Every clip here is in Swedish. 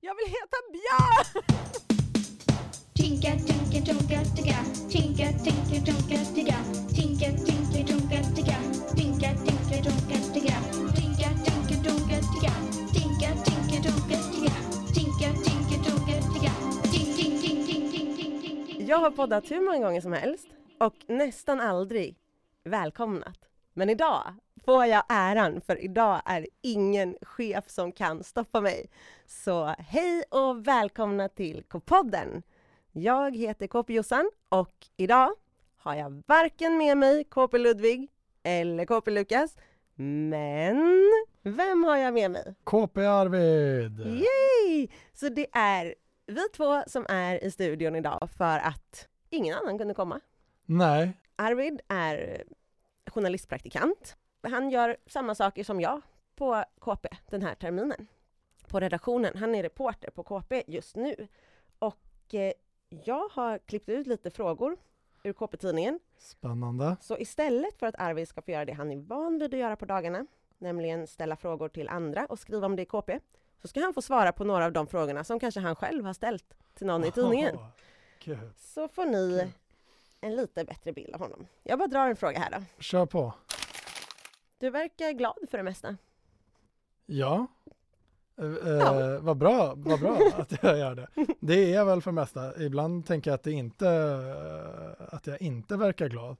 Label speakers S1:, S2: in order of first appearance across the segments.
S1: jag vill heta Björn!
S2: Tinka, tinka, tonka, ticka. Tinka, tinka, tonka, ticka. Tinka, tinka, tonka, ticka. Tinka, tinka, tonka, ticka. Tinka, tinka, tonka, ticka. Tinka, tinka, tonka, ticka. Tinka, tinka, tonka, ticka. Tink, tink, tink, tink, tink, tink, tink, tink.
S3: Jag har poddat hur många gånger som helst och nästan aldrig välkomnat. Men idag får jag äran för idag är det ingen chef som kan stoppa mig. Så hej och välkomna till K-podden. Jag heter KP Jossan och idag har jag varken med mig KP Ludvig eller KP Lukas. Men vem har jag med mig?
S4: KP Arvid!
S3: Yay! Så det är vi två som är i studion idag för att ingen annan kunde komma.
S4: Nej,
S3: Arvid är journalistpraktikant. Han gör samma saker som jag på KP den här terminen. På redaktionen. Han är reporter på KP just nu. Och eh, jag har klippt ut lite frågor ur KP-tidningen.
S4: spännande.
S3: Så istället för att Arvid ska få göra det han är van vid att göra på dagarna, nämligen ställa frågor till andra och skriva om det i KP, så ska han få svara på några av de frågorna som kanske han själv har ställt till någon i tidningen.
S4: Åh, Kul.
S3: Så får ni
S4: Kul.
S3: en lite bättre bild av honom. Jag bara drar en fråga här då.
S4: Kör på.
S3: Du verkar glad för det mesta.
S4: Ja. Eh, eh, vad bra, vad bra att jag gör det. Det är jag väl för det mesta. Ibland tänker jag att, det inte, eh, att jag inte verkar glad.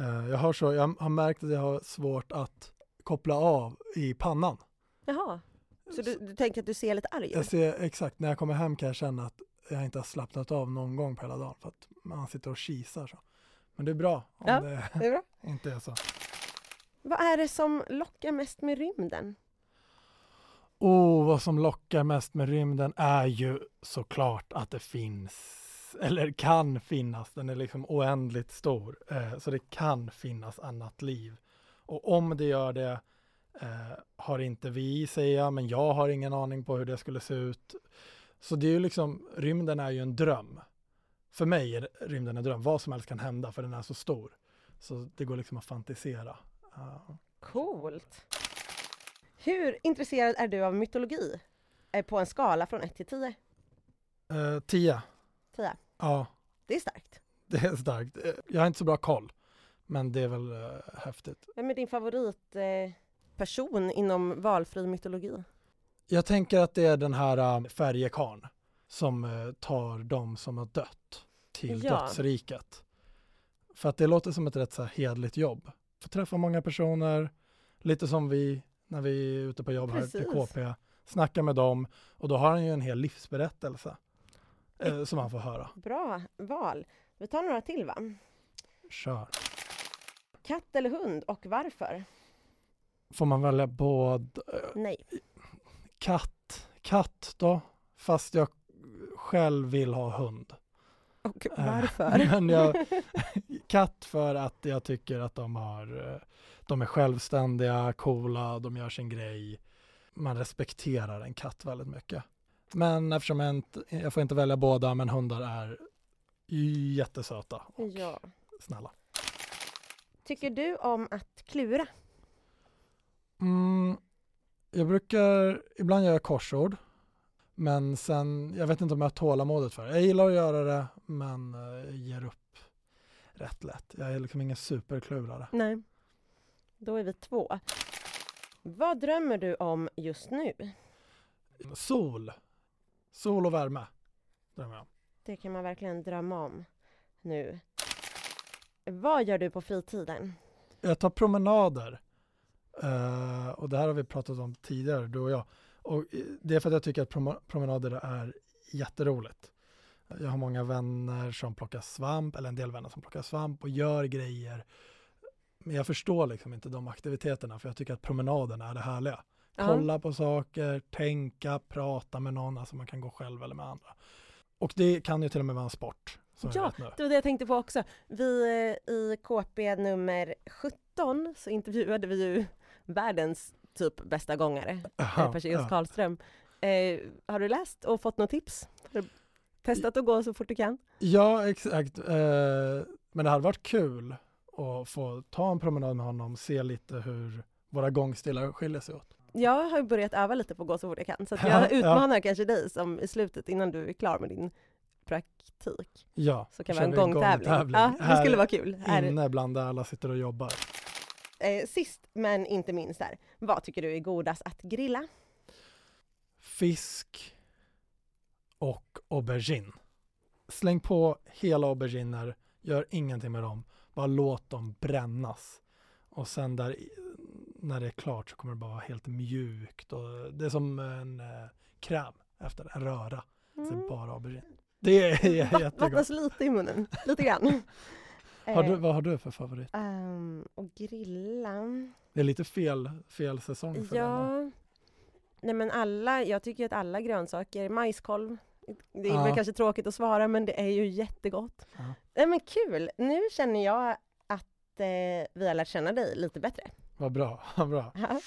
S4: Eh, jag, har så, jag har märkt att jag har svårt att koppla av i pannan.
S3: Jaha, så du, du tänker att du ser lite arg
S4: Jag
S3: ut?
S4: ser exakt, när jag kommer hem kan jag känna att jag inte har slappnat av någon gång på hela dagen för att man sitter och kisar så. Men det är bra om
S3: Ja.
S4: det
S3: Det är bra.
S4: inte är så.
S3: Vad är det som lockar mest med rymden?
S4: Oh, vad som lockar mest med rymden är ju såklart att det finns eller kan finnas, den är liksom oändligt stor, eh, så det kan finnas annat liv. Och om det gör det eh, har inte vi, säger jag, men jag har ingen aning på hur det skulle se ut. Så det är ju liksom, rymden är ju en dröm. För mig är rymden en dröm, vad som helst kan hända för den är så stor. Så det går liksom att fantisera. Ja.
S3: Coolt! Hur intresserad är du av mytologi? Eh, På en skala från 1 till 10?
S4: Eh, Tia,
S3: 10.
S4: ja.
S3: Det är starkt.
S4: Det är starkt. Eh, Jag har inte så bra koll, men det är väl eh, häftigt.
S3: Vem är din favoritperson eh, person inom valfri mytologi?
S4: Jag tänker att det är den här eh, färjekarn som eh, tar de som har dött till
S3: Ja.
S4: dödsriket. För att det låter som ett rätt så här hedligt jobb. Får träffa många personer, lite som vi när vi är ute på jobb här
S3: Precis.
S4: till KP, snacka med dem och då har han ju en hel livsberättelse eh, som han får höra.
S3: Bra val. Vi tar några till va?
S4: Kör.
S3: Katt eller hund och varför?
S4: Får man välja både eh,
S3: Nej.
S4: katt, katt då, fast jag själv vill ha hund.
S3: Och
S4: Eh, Men jag, katt för att jag tycker att de, har, eh, de är självständiga, coola, de gör sin grej. Man respekterar en katt väldigt mycket. Men eftersom jag inte, jag får inte välja båda, men hundar är jättesöta och
S3: Ja.
S4: snälla.
S3: Tycker du om att klura?
S4: Mm, jag brukar, ibland gör jag korsord. Men sen, jag vet inte om jag har tålamodet för det. Jag gillar att göra det, men eh, jag ger upp rätt lätt. Jag är liksom ingen superklurare.
S3: Nej. Då är vi två. Vad drömmer du om just nu?
S4: Sol. Sol och värme. Drömmer jag om.
S3: Det kan man verkligen drömma om nu. Vad gör du på fritiden?
S4: Jag tar promenader. Eh, och det här har vi pratat om tidigare, du och jag. Och eh, det är för att jag tycker att promo- promenader är jätteroligt. Jag har många vänner som plockar svamp, eller en del vänner som plockar svamp och gör grejer. Men jag förstår liksom inte de aktiviteterna, för jag tycker att promenaderna är det härliga. Kolla på saker, tänka, prata med någon, alltså man kan gå själv eller med andra. Och det kan ju till och med vara en sport. Som jag
S3: Ja,
S4: vet nu.
S3: Det var det jag tänkte på också. Vi eh, i KP nummer 17 så intervjuade vi ju världens typ bästa gångare,
S4: Aha,
S3: ja, Perseus
S4: ja.
S3: Karlström. Eh, har du läst och fått något tips? Har du testat att gå så fort du kan?
S4: Ja, exakt. Eh, men det hade varit kul att få ta en promenad med honom, se lite hur våra gångstilar skiljer sig åt.
S3: jag har ju börjat öva lite på att gå så fort jag kan, så att
S4: Ja,
S3: jag
S4: ja.
S3: utmanar kanske dig som i slutet, innan du är klar med din praktik,
S4: Ja,
S3: så kan vi
S4: kör
S3: ha en
S4: vi en
S3: gångtävling.
S4: gångtävling.
S3: Ja, det
S4: Här
S3: skulle vara kul. Här,
S4: inne bland där alla sitter och jobbar.
S3: eh, sist men inte minst här, vad tycker du är godast att grilla?
S4: Fisk och aubergine. Släng på hela auberginer, gör ingenting med dem, bara låt dem brännas. Och sen där, i- när det är klart så kommer det bara vara helt mjukt och det är som en eh, kräm efter en röra. Så det är
S3: Mm.
S4: bara aubergine. Det är
S3: Vatt-
S4: jättegott.
S3: Vattnas lite i munnen, lite grann.
S4: Har du,
S3: Eh,
S4: vad har du för favorit?
S3: ehm, och grilla,
S4: Det är lite fel, fel säsong för den. va?
S3: ja. Nej men alla, jag tycker att alla grönsaker, majskolv, det är
S4: Ja.
S3: väl kanske tråkigt att svara men det är ju jättegott.
S4: Ja.
S3: Nej men kul, nu känner jag att eh, vi har lärt känna dig lite bättre.
S4: Vad bra, vad bra.
S3: Ja.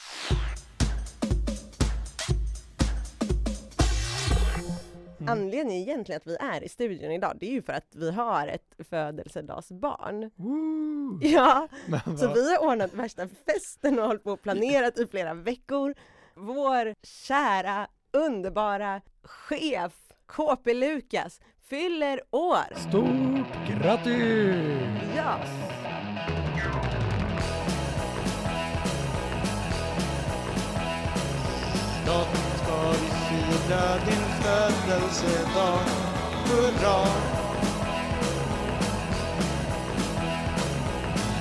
S4: Mm.
S3: Anledningen egentligen att vi är i studion idag, det är ju för att vi har ett
S4: Mm.
S3: födelsedagsbarn.
S4: Woo!
S3: Ja,
S4: Men
S3: så
S4: vad-
S3: vi har ordnat värsta festen och hållit på och planerat i flera veckor. Vår kära, underbara chef KP Lukas fyller år!
S4: Stort grattis!
S3: Ja!
S1: Snart ska vi fira din födelsedag Hurra!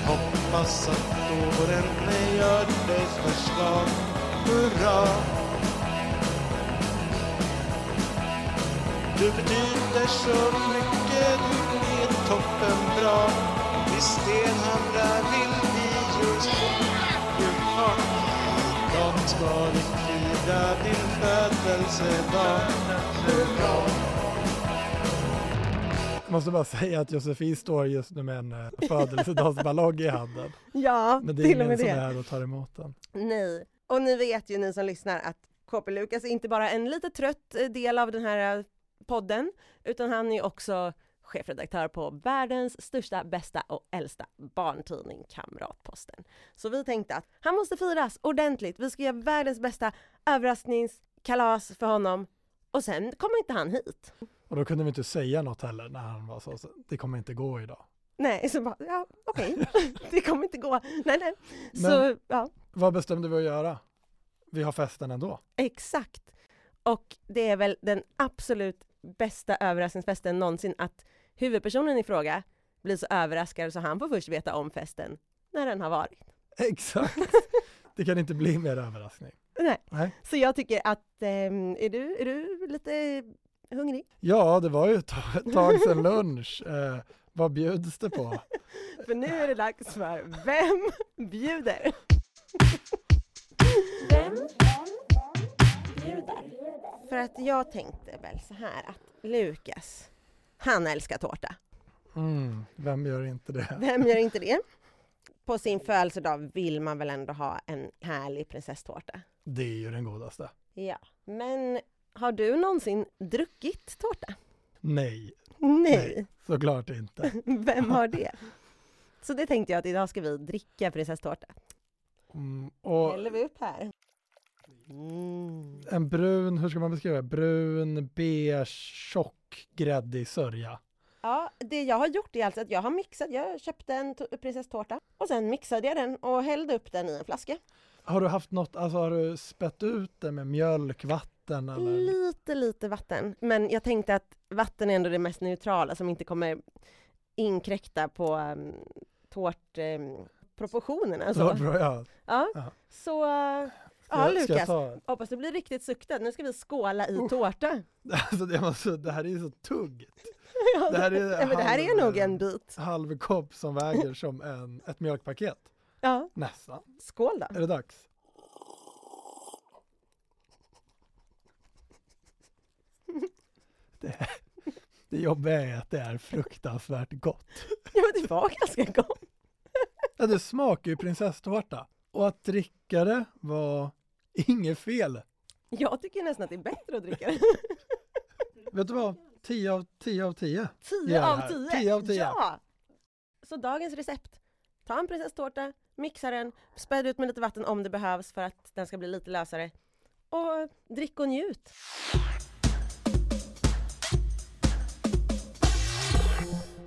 S1: Hoppas att åren ej gör dig förslag Hurra! Du betyder så mycket, du blir toppenbra I Stenhamra vill vi just ju ha Snart ska vi fira din födelsedag Hurra!
S4: Jag måste bara säga att Josefin står just nu med en eh, födelsedagsballong i handen.
S3: Ja,
S4: Men det
S3: till
S4: är
S3: och
S4: ingen
S3: med
S4: som
S3: det.
S4: är här och tar emot den.
S3: Nej, och ni vet ju ni som lyssnar att KP Lukas är inte bara en lite trött eh, del av den här eh, podden, utan han är också chefredaktör på världens största, bästa och äldsta barntidning Kamratposten. Så vi tänkte att han måste firas ordentligt. Vi ska göra världens bästa överraskningskalas för honom och sen kommer inte han hit.
S4: Och då kunde vi inte säga något heller när han var så, så det kommer inte gå idag.
S3: Nej, så bara, ja okej, det kommer inte gå. Nej, nej. Så,
S4: Men-
S3: ja.
S4: Vad bestämde vi att göra? Vi har festen ändå.
S3: Exakt. Och det är väl den absolut bästa överraskningsfesten någonsin att huvudpersonen i fråga blir så överraskad så han får först veta om festen när den har varit.
S4: Exakt! Det kan inte bli mer överraskning.
S3: Nej.
S4: Nej.
S3: Så jag tycker att, ehm, är, du, är du lite hungrig?
S4: Ja, det var ju ett tag- ett tag sedan lunch. Eh, vad bjuds det på?
S3: För nu är det dags för Vem bjuder?
S2: Vem bjuder?
S3: För att jag tänkte väl så här att Lukas, han älskar tårta.
S4: Mm, vem gör inte det?
S3: Vem gör inte det? På sin födelsedag vill man väl ändå ha en härlig prinsesstårta?
S4: Det är ju den godaste.
S3: Ja, men har du någonsin druckit tårta?
S4: Nej,
S3: Nej,
S4: såklart inte.
S3: vem har det? Så det tänkte jag att idag ska vi dricka prinsesstårta.
S4: Mm, och
S3: häller vi upp här. Mm.
S4: en brun, hur ska man beskriva det? Brun, beige, tjock, gräddig sörja.
S3: Ja, det jag har gjort är alltså att jag har mixat, jag köpte en to- prinsesstårta och sen mixade jag den och hällde upp den i en flaska.
S4: Har du haft något, alltså har du spätt ut det med mjölk, vatten eller?
S3: Lite, lite vatten, men jag tänkte att vatten är ändå det mest neutrala som inte kommer inkräkta på um, tårtproportionerna. Um,
S4: Så, bra, ja.
S3: Ja,
S4: Ja.
S3: så eh,
S4: Ska,
S3: ja,
S4: jag- ska jag
S3: Lukas,
S4: ta?
S3: hoppas du blir riktigt suktad. Nu ska vi skåla i tårta.
S4: Alltså, det, måste, det här är ju så tuggt.
S3: Ja,
S4: Det här är
S3: Nej, men det här är
S4: halv-
S3: nog en bit.
S4: Halv kopp som väger som en, ett mjölkpaket.
S3: Ja,
S4: Nästan.
S3: skål då.
S4: Är det dags? Det, det jobbiga är att det är fruktansvärt gott.
S3: Ja, men det var ganska gott.
S4: Ja, det smakar ju prinsesstårta. Och att dricka det var inget fel.
S3: Jag tycker nästan att det är bättre att dricka det.
S4: Vet du vad? 10 av 10 av 10.
S3: 10
S4: Gör det
S3: av
S4: här.
S3: 10!
S4: 10 av 10.
S3: Ja! Så dagens recept. Ta en prinsesstårta, mixa den, späd ut med lite vatten om det behövs för att den ska bli lite lösare. Och drick och njut!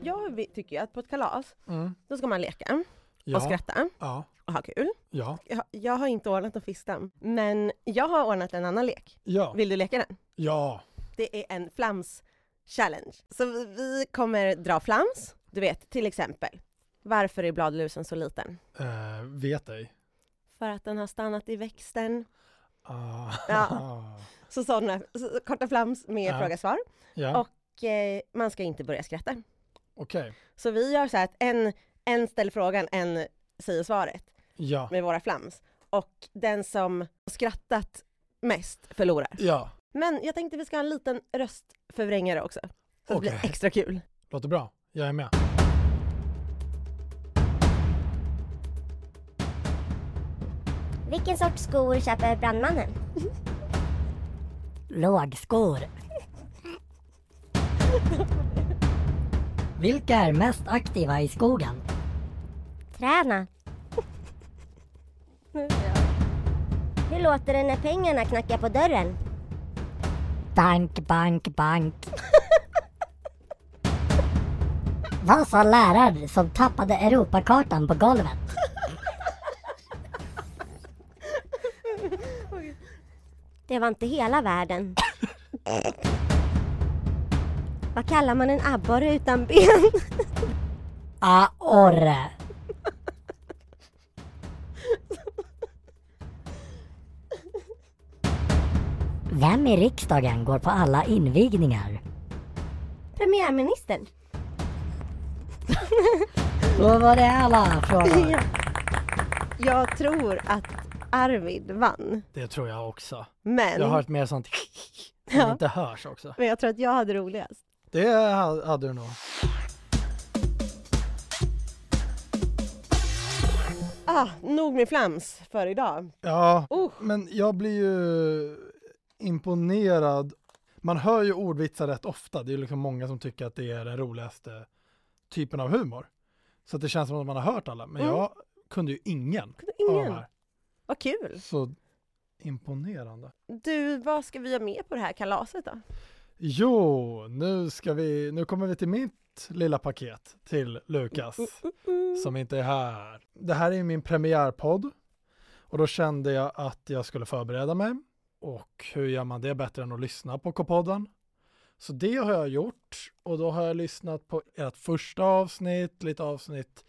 S3: Jag vi- tycker ju att på ett kalas,
S4: Mm.
S3: då ska man leka och
S4: Ja,
S3: skratta
S4: ja,
S3: och ha kul.
S4: ja,
S3: Jag, jag har inte ordnat någon fiskdamm, men jag har ordnat en annan lek.
S4: ja,
S3: Vill du leka den?
S4: ja,
S3: Det är en flams challenge. Så vi, vi kommer dra flams. Du vet, till exempel, varför är bladlusen så liten?
S4: eh, vet ej.
S3: För att den har stannat i växten.
S4: Ah.
S3: Ja. Så sådana så, korta flams med
S4: Ja.
S3: fråga svar.
S4: ja.
S3: Och- Och eh, man ska inte börja skratta.
S4: okej.
S3: Så vi gör så här att en, en ställer frågan, en säger svaret
S4: Ja,
S3: med våra flams. Och den som skrattat mest förlorar.
S4: ja,
S3: Men jag tänkte vi ska ha en liten röstförvrängare också. Så att det blir
S4: Okej.
S3: extra kul.
S4: låter bra. Jag är med.
S5: Vilken sorts skor köper brandmannen?
S6: Lågskor. Vilka är mest aktiva i skogen?
S5: Träna. Hur låter det när pengarna knackar på dörren?
S6: Bank, bank, bank. Vad sa läraren som tappade Europakartan på golvet?
S5: Det var inte hela världen. Vad kallar man en abborre utan ben?
S6: Aorre. Vem i riksdagen går på alla invigningar?
S5: Premiärministern.
S6: Då var det alla frågor.
S3: Jag tror att Arvid vann.
S7: Det tror jag också.
S3: Men
S7: Jag
S3: jag,
S7: har hört mer sånt som
S3: Ja.
S7: inte hörs också.
S3: men jag tror att jag hade roligast.
S4: Det ha- hade du nog.
S3: Ah, nog med flams för idag.
S4: Ja,
S3: Oh.
S4: men jag blir ju imponerad. Man hör ju ordvitsar rätt ofta. Det är ju liksom många som tycker att det är den roligaste typen av humor. Så att det känns som att man har hört alla. Men
S3: Mm.
S4: jag kunde ju ingen, av de
S3: Ingen.
S4: här.
S3: Vad kul.
S4: Så imponerande.
S3: Du, vad ska vi ha med på det här kalaset då?
S4: Jo, nu ska vi, nu kommer vi till mitt lilla paket till Lukas som inte är här. Det här är ju min premiärpodd och då kände jag att jag skulle förbereda mig och hur gör man det bättre än att lyssna på K-podden? Så det har jag gjort och då har jag lyssnat på ert första avsnitt, lite avsnitt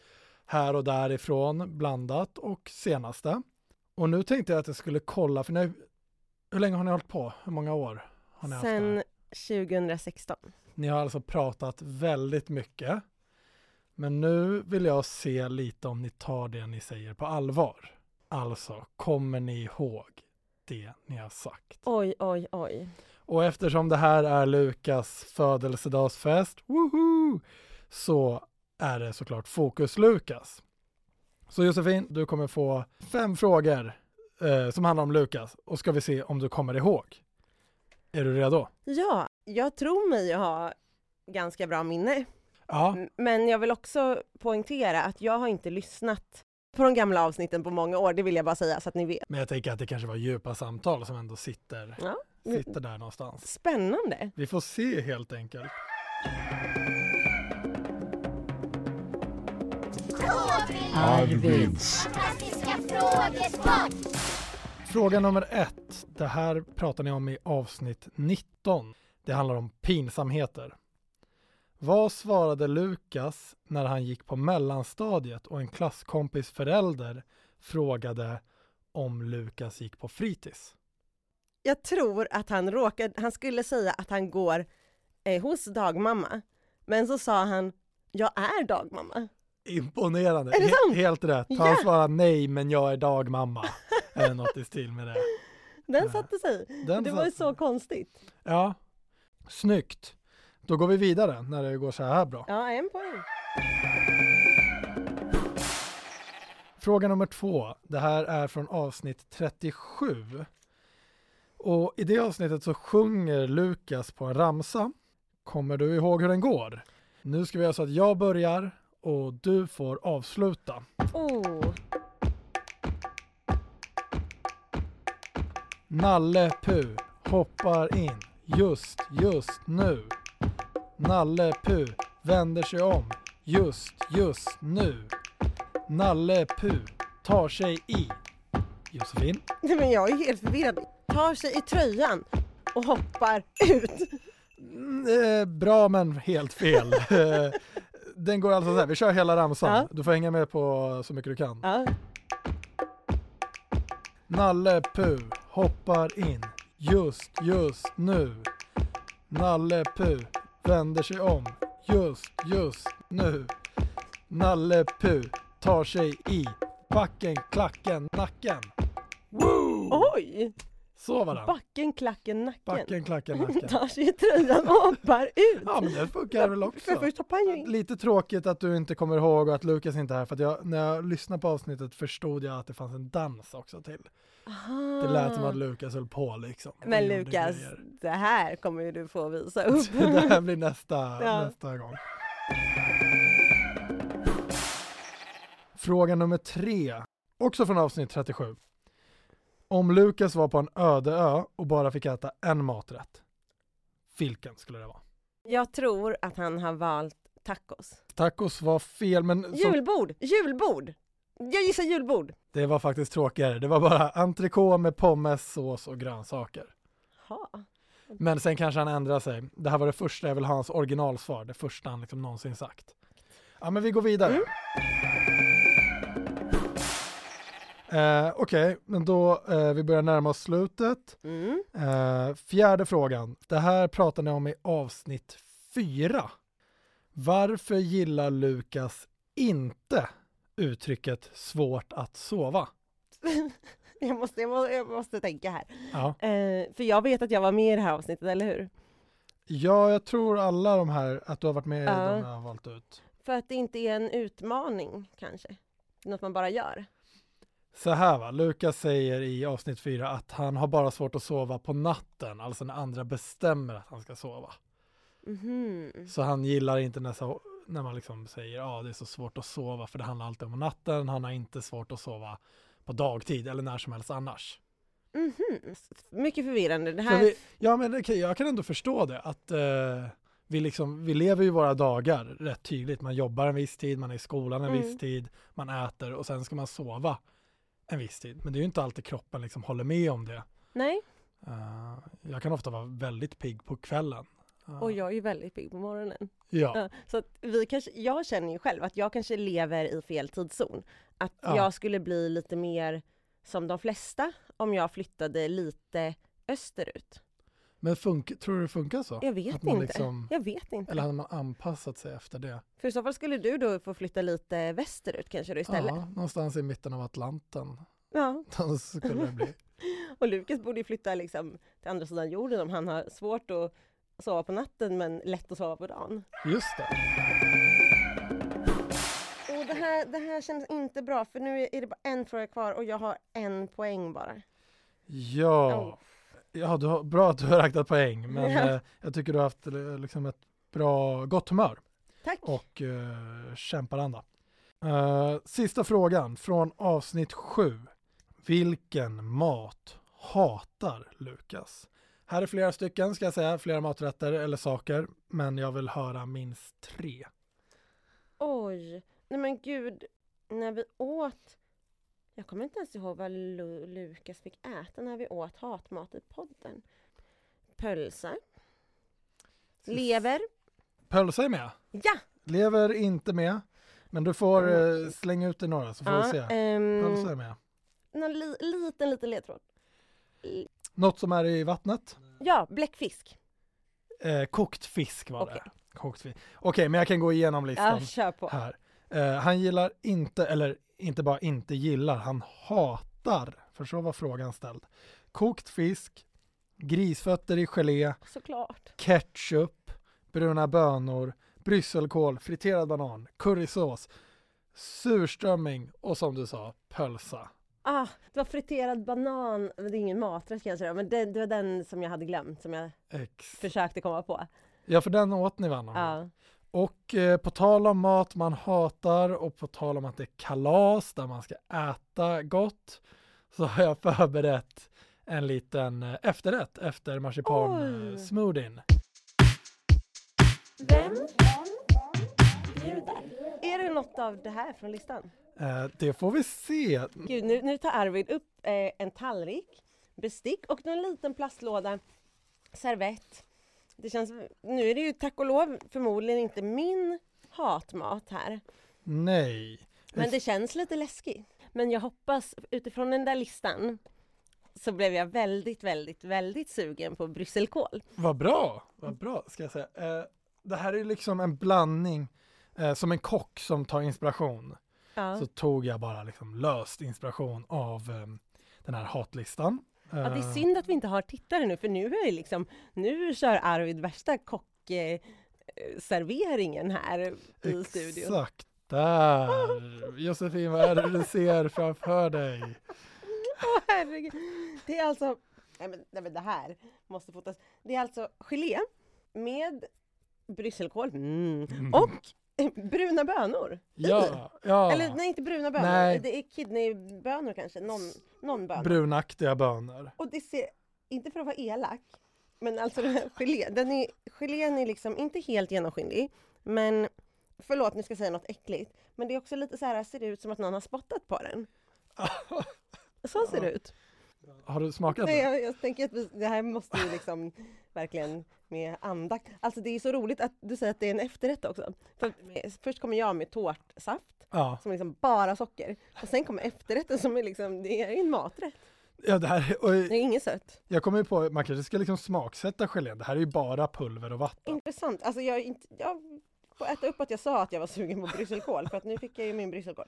S4: här och därifrån blandat och senaste. Och nu tänkte jag att jag skulle kolla, för nu, hur länge har ni hållit på? Hur många år? Har ni haft det här?
S3: Sen 2016.
S4: Ni har alltså pratat väldigt mycket. Men nu vill jag se lite om ni tar det ni säger på allvar. Alltså, kommer ni ihåg det ni har sagt?
S3: Oj, oj, oj.
S4: Och eftersom det här är Lukas födelsedagsfest, woohoo, så är det såklart Fokus Lukas. Så Josefin, du kommer få fem frågor eh, som handlar om Lukas och ska vi se om du kommer ihåg. Är du redo?
S3: Ja, jag tror mig ha ganska bra minne.
S4: Ja,
S3: M- Men jag vill också poängtera att jag har inte lyssnat på de gamla avsnitten på många år, det vill jag bara säga så att ni vet.
S4: Men jag tänker att det kanske var djupa samtal som ändå sitter,
S3: Ja.
S4: sitter där någonstans.
S3: Spännande!
S4: Vi får se helt enkelt.
S6: Arvids.
S4: Fråga nummer ett. Det här pratar ni om i avsnitt 19. Det handlar om pinsamheter. Vad svarade Lukas när han gick på mellanstadiet och en klasskompis förälder frågade om Lukas gick på fritids?
S3: Jag tror att han råkade, han skulle säga att han går eh, hos dagmamma, men så sa han jag är dagmamma.
S4: Imponerande!
S3: Är det
S4: He-
S3: sant?
S4: Helt rätt. Han
S3: Ja.
S4: svarade nej, men jag är dagmamma. Eller något i stil med det.
S3: Den
S4: Ja.
S3: satte sig.
S4: Den
S3: det var ju
S4: satt-
S3: så konstigt.
S4: Ja, snyggt. Då går vi vidare när det går så här bra.
S3: Ja, en poäng.
S4: Fråga nummer två. Det här är från avsnitt 37. Och i det avsnittet så sjunger Lukas på en ramsa. Kommer du ihåg hur den går? Nu ska vi göra så att jag börjar och du får avsluta.
S3: Oh.
S4: Nalle Puh hoppar in just, just nu. Nalle Puh vänder sig om just, just nu. Nalle Puh tar sig i. Josefin?
S3: Nej, men jag är helt förvirrad. Tar sig i tröjan och hoppar ut.
S4: Mm, eh, bra men helt fel. Eh, Den går alltså så här, vi kör hela ramsan.
S3: Ja.
S4: Du får hänga med på så mycket du kan.
S3: Ja.
S4: Nalle Puh hoppar in just, just nu. Nalle Puh vänder sig om just, just nu. Nalle Puh tar sig i backen, klacken, nacken. Woo!
S3: Oj!
S4: Så var den.
S3: Backen, klacken, nacken.
S4: Backen, klacken, nacken.
S3: Tar sig i tröjan och hoppar ut.
S4: Ja, men det funkar väl
S3: För
S4: också.
S3: först hoppar han ju in.
S4: Lite tråkigt att du inte kommer ihåg och att Lukas inte är här för att jag, när jag lyssnade på avsnittet förstod jag att det fanns en dans också till. Det lät som att Lukas höll på liksom.
S3: Ah. Men
S4: Och gjorde
S3: Lukas,
S4: grejer.
S3: det här kommer ju du få visa upp.
S4: Det här blir nästa,
S3: Ja.
S4: nästa gång. Fråga nummer tre, också från avsnitt 37. Om Lukas var på en öde ö och bara fick äta en maträtt, vilken skulle det vara?
S3: Jag tror att han har valt tacos.
S4: Tacos var fel, men som,
S3: Julbord! Julbord! Jag gissar julbord.
S4: det var faktiskt tråkigare. Det var bara entrecote med pommes, sås och grönsaker.
S3: Ha.
S4: Men sen kanske han ändrar sig. Det här var det första, jag vill ha hans originalsvar, det första han liksom någonsin sagt. Ja, men vi går vidare. Eh, Okej, men då eh, vi börjar närma oss slutet.
S3: Mm.
S4: Eh, fjärde frågan. Det här pratar ni om i avsnitt fyra. Varför gillar Lukas inte uttrycket svårt att sova?
S3: Jag, måste, jag, måste, jag måste tänka här.
S4: Ja.
S3: Eh, för jag vet att jag var med i det här avsnittet, eller hur?
S4: ja, jag tror alla de här, att du har varit med i
S3: Ja.
S4: de jag har valt ut.
S3: För att det inte är en utmaning kanske. Något man bara gör.
S4: Så här va, Lukas säger i avsnitt 4 att han har bara svårt att sova på natten, alltså när andra bestämmer att han ska sova.
S3: Mhm.
S4: Så han gillar inte när, så, när man liksom säger ja det är så svårt att sova för det handlar alltid om natten, han har inte svårt att sova på dagtid eller när som helst annars.
S3: Mhm. Mycket förvirrande. Det
S4: För
S3: här...
S4: vi, ja men okej, jag kan ändå förstå det att eh, vi, liksom, vi lever ju våra dagar rätt tydligt, man jobbar en viss tid, man är i skolan en
S3: Mm.
S4: viss tid, man äter och sen ska man sova en viss tid. Men det är ju inte alltid kroppen liksom håller med om det.
S3: Nej,
S4: Eh, jag kan ofta vara väldigt pigg på kvällen. Eh,
S3: och jag är ju väldigt pigg på morgonen.
S4: ja.
S3: Ja, Så att vi kanske, jag känner ju själv att jag kanske lever i fel tidszon. Att
S4: Ja.
S3: jag skulle bli lite mer som de flesta om jag flyttade lite österut.
S4: Men funk, tror du det funkar så?
S3: Jag vet
S4: Att man
S3: inte.
S4: liksom-
S3: Jag vet inte.
S4: Eller hade man anpassat sig efter det?
S3: För i så fall skulle du då få flytta lite västerut kanske då istället.
S4: Ja, någonstans i mitten av Atlanten.
S3: Ja.
S4: Så skulle det bli.
S3: Och Lukas borde ju flytta liksom till andra sidan jorden om han har svårt att sova på natten men lätt att sova på dagen.
S4: Just det.
S3: Och det här, det här känns inte bra för nu är det bara en fråga kvar och jag har en poäng bara. Oh,
S4: Ja. ja du har, bra att du har räknat poäng, men
S3: Ja.
S4: eh, jag tycker du har haft eh, liksom ett bra, gott humör
S3: Tack!
S4: och eh, kämparanda. Eh, sista frågan från avsnitt 7. Vilken mat hatar Lukas? Här är flera stycken ska jag säga, flera maträtter eller saker, men jag vill höra minst tre.
S3: Oj, nej men gud, när vi åt... Jag kommer inte ens ihåg vad Lu- Lukas fick äta när vi åt hatmat i podden. Pölsa. Lever.
S4: Pölsa är med,
S3: Ja!
S4: lever inte med, men du får eh, slänga ut dig några så får vi
S3: Mm. ja
S4: se.
S3: ehm,
S4: Pölsa är med.
S3: någon li- liten, liten ledtråd.
S4: Något som är i vattnet?
S3: Ja, bläckfisk.
S4: Eh, kokt fisk var
S3: Okej.
S4: det. Kokt fisk. Okej, men jag kan gå igenom listan.
S3: Ja, kör på.
S4: här. Eh, han gillar inte, eller inte bara inte gillar, han hatar, för så var frågan ställd, kokt fisk, grisfötter i gelé,
S3: Såklart.
S4: ketchup, bruna bönor, brysselkål, friterad banan, currysås, surströmming och som du sa, pölsa.
S3: Ah, det var friterad banan, men det är ingen maträtt kanske då, men det, det var den som jag hade glömt som jag
S4: Ex.
S3: försökte komma på.
S4: Ja, för den åt ni va? någon gång?
S3: Ja.
S4: Och eh, på tal om mat man hatar och på tal om att det är kalas där man ska äta gott så har jag förberett en liten eh, efterrätt efter marsipansmoothien.
S3: Är det något av det här från listan?
S4: Eh, det får vi se.
S3: Gud, nu, nu tar Arvid upp eh, en tallrik, bestick och någon liten plastlåda, servett. Det känns, nu är det ju tack och lov förmodligen inte min hatmat här,
S4: Nej.
S3: men det känns lite läskigt. Men jag hoppas, utifrån den där listan, så blev jag väldigt, väldigt, väldigt sugen på brysselkål.
S4: Vad bra, vad bra ska jag säga. Eh, det här är liksom en blandning, eh, som en kock som tar inspiration.
S3: Ja.
S4: Så tog jag bara liksom löst inspiration av eh, den här hatlistan.
S3: Ja, det
S4: eh,
S3: är synd att vi inte har tittare nu, för nu är det liksom, nu kör Arvid värsta kock eh, serveringen här i studion.
S4: Exakt där. Josefin, vad är det du ser framför dig?
S3: Åh herregud. Det är alltså, nej men, nej men det här måste fotas. Det är alltså gelé med brysselkål mm. och eh, bruna bönor. i.
S4: Ja, ja.
S3: Eller nej, inte bruna bönor.
S4: Ah. Nej.
S3: Det är kidneybönor kanske, någon, någon bön.
S4: brunaktiga bönor.
S3: Och det ser, inte för att vara elak, men alltså den här gelé, den är, gelén är liksom inte helt genomskinlig, men förlåt nu ska jag säga något äckligt, men det är också lite så här, ser det ut som att någon har spottat på den. Så ser det ut.
S4: Har du smakat
S3: Nej,
S4: det?
S3: jag, jag tänker att vi, det här måste ju liksom verkligen med andakt. Alltså det är så roligt att du säger att det är en efterrätt också. För, att först kommer jag med tårtsaft,
S4: Ja.
S3: som är liksom bara socker, och sen kommer efterrätten som är liksom, det är ju en maträtt.
S4: ja det här, är-
S3: Det
S4: och
S3: är inget sött.
S4: jag kommer ju på, man kanske ska liksom smaksätta gelén. Det här är ju bara pulver och vatten.
S3: Intressant. Alltså jag, är inte, jag får äta upp att jag sa att jag var sugen på brysselkål för att nu fick jag ju min brysselkål.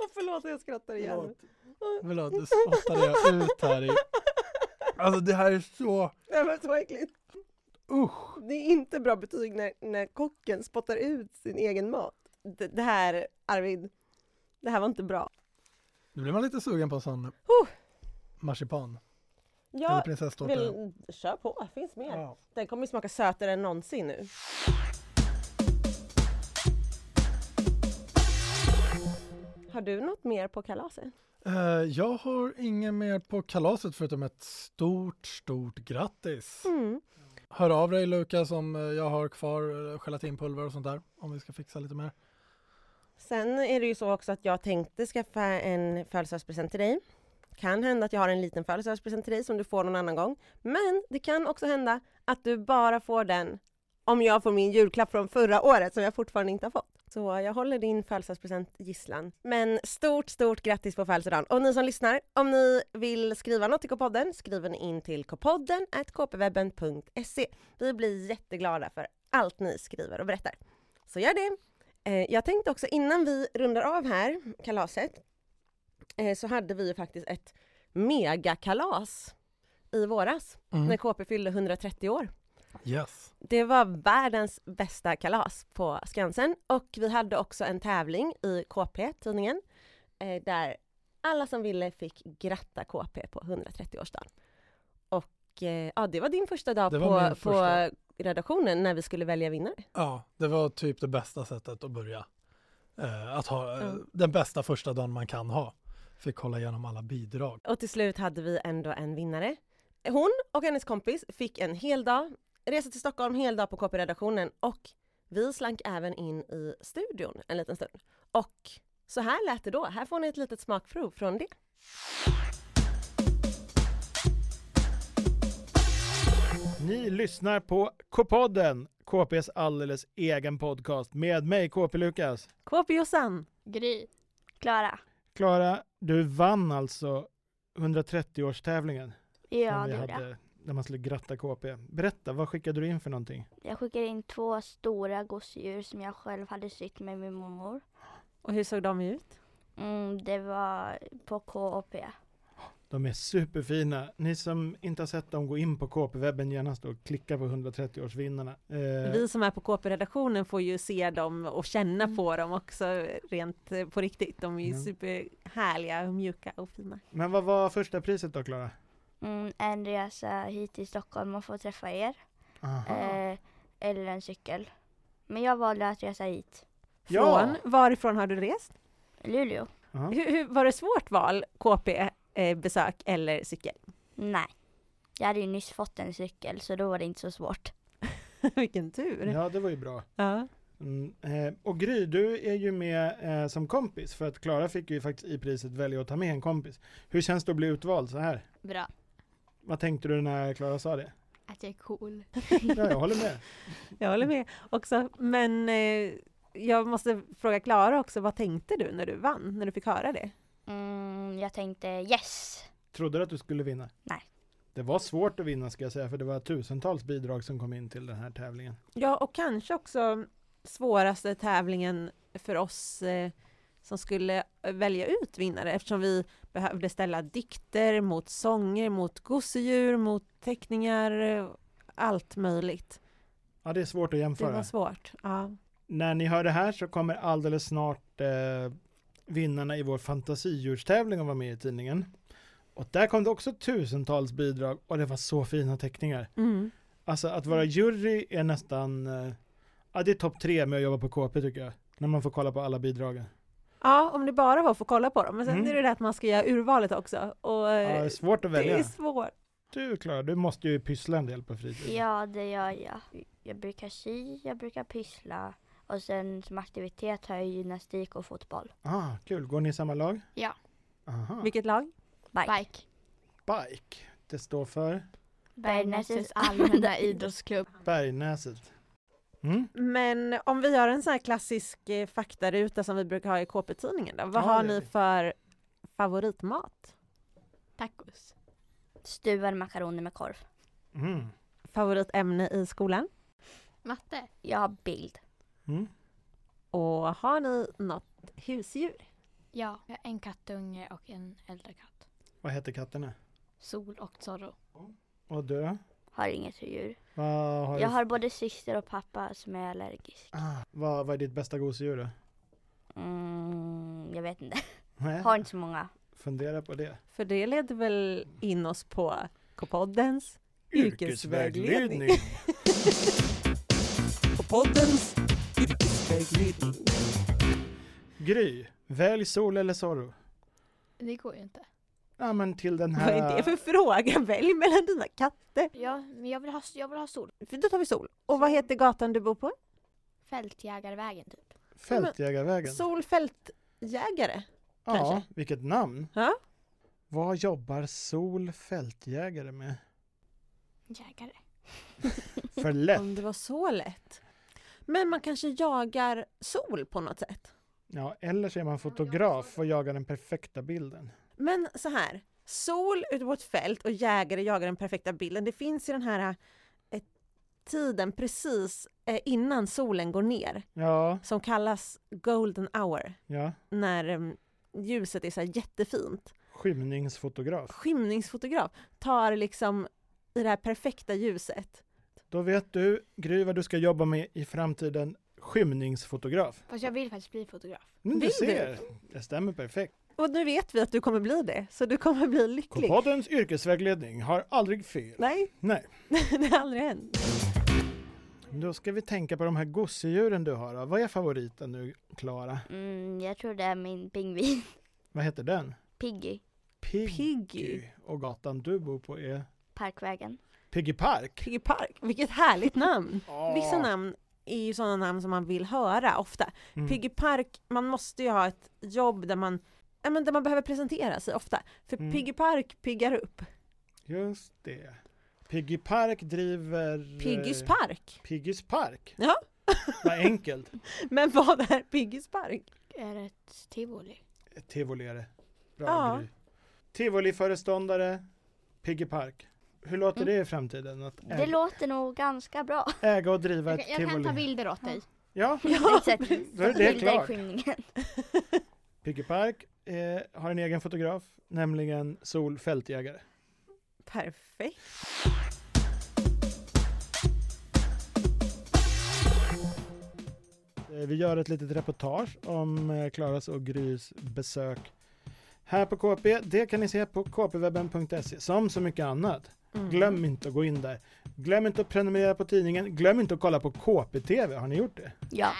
S3: Åh, förlåt jag skrattar igen.
S4: Förlåt, nu spottade jag ut här i... Alltså det här är så...
S3: Nej men så äckligt.
S4: Usch!
S3: Det är inte bra betyg när, när kocken spottar ut sin egen mat. Det, det här, Arvid, det här var inte bra.
S4: Nu blir man lite sugen på en sån
S3: Huh.
S4: marsipan. Eller
S3: Jag
S4: prinsesstårta.
S3: vill... Kör på, finns mer.
S4: Ja.
S3: Den kommer ju smaka sötare än någonsin nu. Har du något mer på kalaset?
S4: Eh, jag har ingen mer på kalaset förutom ett stort, stort grattis. Hör av dig Lukas om eh, jag har kvar eh, gelatinpulver och sånt där. Om vi ska fixa lite mer.
S3: Sen är det ju så också att jag tänkte skaffa en födelsedagspresent till dig. Kan hända att jag har en liten födelsedagspresent till dig som du får någon annan gång. Men det kan också hända att du bara får den om jag får min julklapp från förra året som jag fortfarande inte har fått. Så jag håller din födelsedagspresent gisslan. Men stort, stort grattis på födelsedagen! Och ni som lyssnar, om ni vill skriva något till K-podden skriver ni in till kpodden at kpwebben.se. Vi blir jätteglada för allt ni skriver och berättar. Så gör det! Eh, jag tänkte också innan vi rundar av här, kalaset, eh, så hade vi ju faktiskt ett megakalas i våras
S4: Mm.
S3: när KP fyllde 130 år.
S4: Yes.
S3: Det var världens bästa kalas på Skansen och vi hade också en tävling i KP, tidningen, eh, där alla som ville fick gratta KP på 130-årsdagen. Och eh, ja, det var din första dag
S4: Det var min
S3: på,
S4: första.
S3: på redaktionen när vi skulle välja vinnare.
S4: Ja, det var typ det bästa sättet att börja. Eh, att ha eh,
S3: Mm.
S4: den bästa första dagen man kan ha. Fick kolla igenom alla bidrag.
S3: Och till slut hade vi ändå en vinnare. Hon och hennes kompis fick en hel dag, resa till Stockholm hel dag på KP-redaktionen och vi slank även in i studion en liten stund. Och så här lät det då. Här får ni ett litet smakprov från det.
S8: Ni lyssnar på K-podden, KPs alldeles egen podcast med mig KP Lukas.
S3: KP Jossan!
S9: Gry. Klara.
S8: Klara, du vann alltså 130-årstävlingen
S9: Ja,
S8: vi
S9: det gjorde jag.
S8: hade när man skulle gratta KP. Berätta, vad skickade du in för någonting?
S9: Jag skickade in två stora gosedjur som jag själv hade sytt med min mormor.
S3: Och hur såg de ut?
S9: Mm, det var på KOP.
S8: De är superfina. Ni som inte har sett dem, gå in på KP-webben genast och klicka på 130-årsvinnarna. Eh,
S10: Vi som är på KP-redaktionen får ju se dem och känna
S3: Mm.
S10: på dem också rent eh, på riktigt. De är ju
S8: Ja.
S10: superhärliga, och mjuka och fina.
S8: Men vad var första priset då, Klara?
S9: Mm, en resa hit till Stockholm och få träffa er.
S8: Aha.
S9: Eh, eller en cykel. Men jag valde att resa hit.
S3: Från, varifrån har du rest?
S9: Luleå?
S3: Hur, hur, var det svårt val,
S10: eh,
S3: KP-besök eller cykel?
S9: Nej. Jag hade ju nyss fått en cykel så då var det inte så svårt.
S3: Vilken tur!
S8: Ja, det var ju bra.
S3: Ja.
S8: Mm, eh, och Gry, du är ju med eh, som kompis för att Klara fick ju faktiskt i priset välja att ta med en kompis. Hur känns det att bli utvald så här?
S5: Bra.
S8: Vad tänkte du när Klara sa det?
S5: Att jag är cool.
S8: Ja, jag håller med.
S3: Jag håller med också, men eh, jag måste fråga Klara också, vad tänkte du när du vann, när du fick höra det?
S9: Mm, jag tänkte yes!
S8: Trodde du att du skulle vinna?
S9: Nej.
S8: Det var svårt att vinna ska jag säga, för det var tusentals bidrag som kom in till den här tävlingen.
S3: Ja, och kanske också svåraste tävlingen för oss eh, som skulle eh, välja ut vinnare eftersom vi behövde ställa dikter mot sånger, mot gosedjur, mot teckningar, eh, allt möjligt.
S8: Ja, det är svårt att
S3: Det
S8: jämföra.
S3: var svårt. Ja.
S8: När ni hör det här så kommer alldeles snart eh, vinnarna i vår fantasidjurstävling att vara med i tidningen. Och där kom det också tusentals bidrag och det var så fina teckningar.
S3: Mm.
S8: Alltså att vara jury är nästan, eh, ja det är topp tre med att jobba på KP tycker jag. När man får kolla på alla bidragen.
S3: ja, om det bara var för att få kolla på dem. Men sen
S8: Mm.
S3: är det det att man ska göra urvalet också. Och,
S8: Ja, det
S3: eh,
S8: är svårt att
S3: det är
S8: välja.
S3: svårt.
S8: Du Klara, du måste ju pyssla en del på fritiden.
S9: Ja, det gör jag. Jag brukar sy, jag brukar pyssla och sen som aktivitet har jag gymnastik och fotboll.
S8: Ah, kul, går ni i samma lag?
S5: Ja.
S8: Aha.
S3: Vilket lag?
S9: Bike.
S5: Bike.
S8: Bike, det står för
S5: Bergnäsets allmänna idrottsklubb.
S8: Bergnäset. Mm.
S3: Men om vi gör en sån här klassisk eh, faktaruta som vi brukar ha i KP-tidningen då. Vad
S8: Ja,
S3: har
S8: det gör
S3: ni
S8: vi.
S3: för favoritmat?
S5: Tacos.
S9: Stuvad makaroner med korv.
S8: Mm.
S3: Favoritämne i skolan?
S5: Matte.
S9: Jag har bild.
S8: Mm.
S3: Och har ni något husdjur?
S5: Ja, jag har en kattunge och en äldre katt.
S8: Vad heter katterna?
S5: Sol och Zorro.
S8: Och du?
S9: Har inget djur.
S8: Vad har,
S9: Jag
S8: du...
S9: har både syster och pappa som är allergisk.
S8: Ah, vad, vad är ditt bästa gosedjur då?
S9: Mm, jag vet inte.
S8: Nej,
S9: Har inte så många.
S8: fundera på det.
S3: För det leder väl in oss på K-poddens yrkesvägledning. K-poddens yrkesvägledning.
S8: Gry, välj sol eller sorro.
S5: Det går ju inte.
S8: Ja men till den
S3: Vad
S8: här...
S3: är det för fråga? Välj mellan dina katter.
S5: Ja, men jag vill ha, jag vill ha sol.
S3: För Då tar vi sol. Och vad heter gatan du bor på?
S5: Fältjägarvägen typ.
S8: Fältjägarvägen.
S3: Solfältjägare.
S8: ja,
S3: kanske.
S8: vilket namn.
S3: Ja.
S8: Vad jobbar sol fältjägare med?
S5: Jägare.
S8: För lätt.
S3: Om det var så lätt. Men man kanske jagar sol på något sätt.
S8: Ja, eller så är man fotograf och jagar den perfekta bilden.
S3: Men så här, sol ute på ett fält och jägare jagar den perfekta bilden. Det finns ju den här eh, tiden precis eh, innan solen går ner
S8: Ja,
S3: som kallas golden hour
S8: ja.
S3: när eh, ljuset är så här jättefint.
S8: Skymningsfotograf.
S3: Skymningsfotograf tar liksom i det här perfekta ljuset.
S8: Då vet du, Gry, vad du ska jobba med i framtiden. Skymningsfotograf.
S5: Fast jag vill faktiskt bli fotograf.
S8: Men du
S3: Vill du?
S8: ser, det stämmer perfekt.
S3: Och nu vet vi att du kommer bli det, så du kommer bli lycklig.
S8: K-poddens yrkesvägledning har aldrig fel.
S3: Nej,
S8: Nej.
S3: det har aldrig hänt.
S8: Då ska vi tänka på de här gosedjuren du har. då. Vad är favoriten nu, Klara?
S9: Mm, jag tror det är min pingvin.
S8: Vad heter den?
S9: Piggy.
S8: Piggy.
S3: Piggy.
S8: Och gatan du bor på är
S9: Parkvägen.
S8: Piggy Park.
S3: Piggy Park, vilket härligt namn!
S8: Åh.
S3: Vissa namn är ju sådana namn som man vill höra ofta.
S8: Mm.
S3: Piggy Park, man måste ju ha ett jobb där man, ja, men där man behöver presentera sig ofta. För
S8: Mm. Eh.
S3: Piggy Park piggar upp.
S8: Just det. Piggy Park driver... eh,
S3: Piggys Park!
S8: Piggys Park.
S3: Ja.
S8: Vad enkelt.
S3: Men vad är Piggys Park?
S5: Är det ett tivoli?
S8: Tivoli är det. Bra
S3: Ja.
S8: Gry. Tivoliföreståndare, Piggy Park. Hur låter
S5: Mm.
S8: det i framtiden? Att
S9: Det
S8: äga,
S9: låter nog ganska bra.
S8: äga och driva
S5: Jag,
S8: ett
S5: kan- jag kan ta
S8: tivoli?
S5: bilder åt dig.
S8: Ja,
S3: Ja,
S9: Exakt.
S8: då är det
S9: Bilder i
S8: klart.
S9: skymningen.
S8: Piggy Park eh, har en egen fotograf, nämligen Sol Fältjägare.
S3: perfekt!
S8: Eh, vi gör ett litet reportage om eh, Klaras och Grys besök här på KP. Det kan ni se på kpwebben.se som så mycket annat.
S3: Mm.
S8: Glöm inte att gå in där. Glöm inte att prenumerera på tidningen. Glöm inte att kolla på KPTV. Har ni gjort det?
S9: Ja.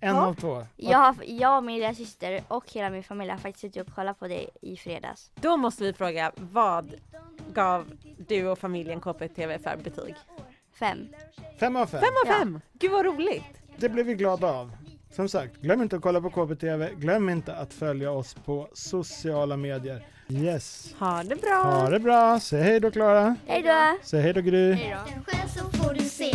S8: En
S9: Ja.
S8: av två.
S9: Jag, har- jag och min lilla syster och hela min familj har faktiskt suttit och kollat på det i fredags.
S3: Då måste vi fråga, vad gav du och familjen KPTV för betyg?
S9: Fem.
S8: Fem av fem.
S3: Fem av fem! Gud vad roligt!
S8: Det blev vi glada av. Som sagt, glöm inte att kolla på KPTV. Glöm inte att följa oss på sociala medier. Yes.
S3: Ha det bra!
S8: Ha det bra. Säg hej då Klara.
S9: Hej då!
S8: Säg hej då Gry.
S2: Den själv så får du se.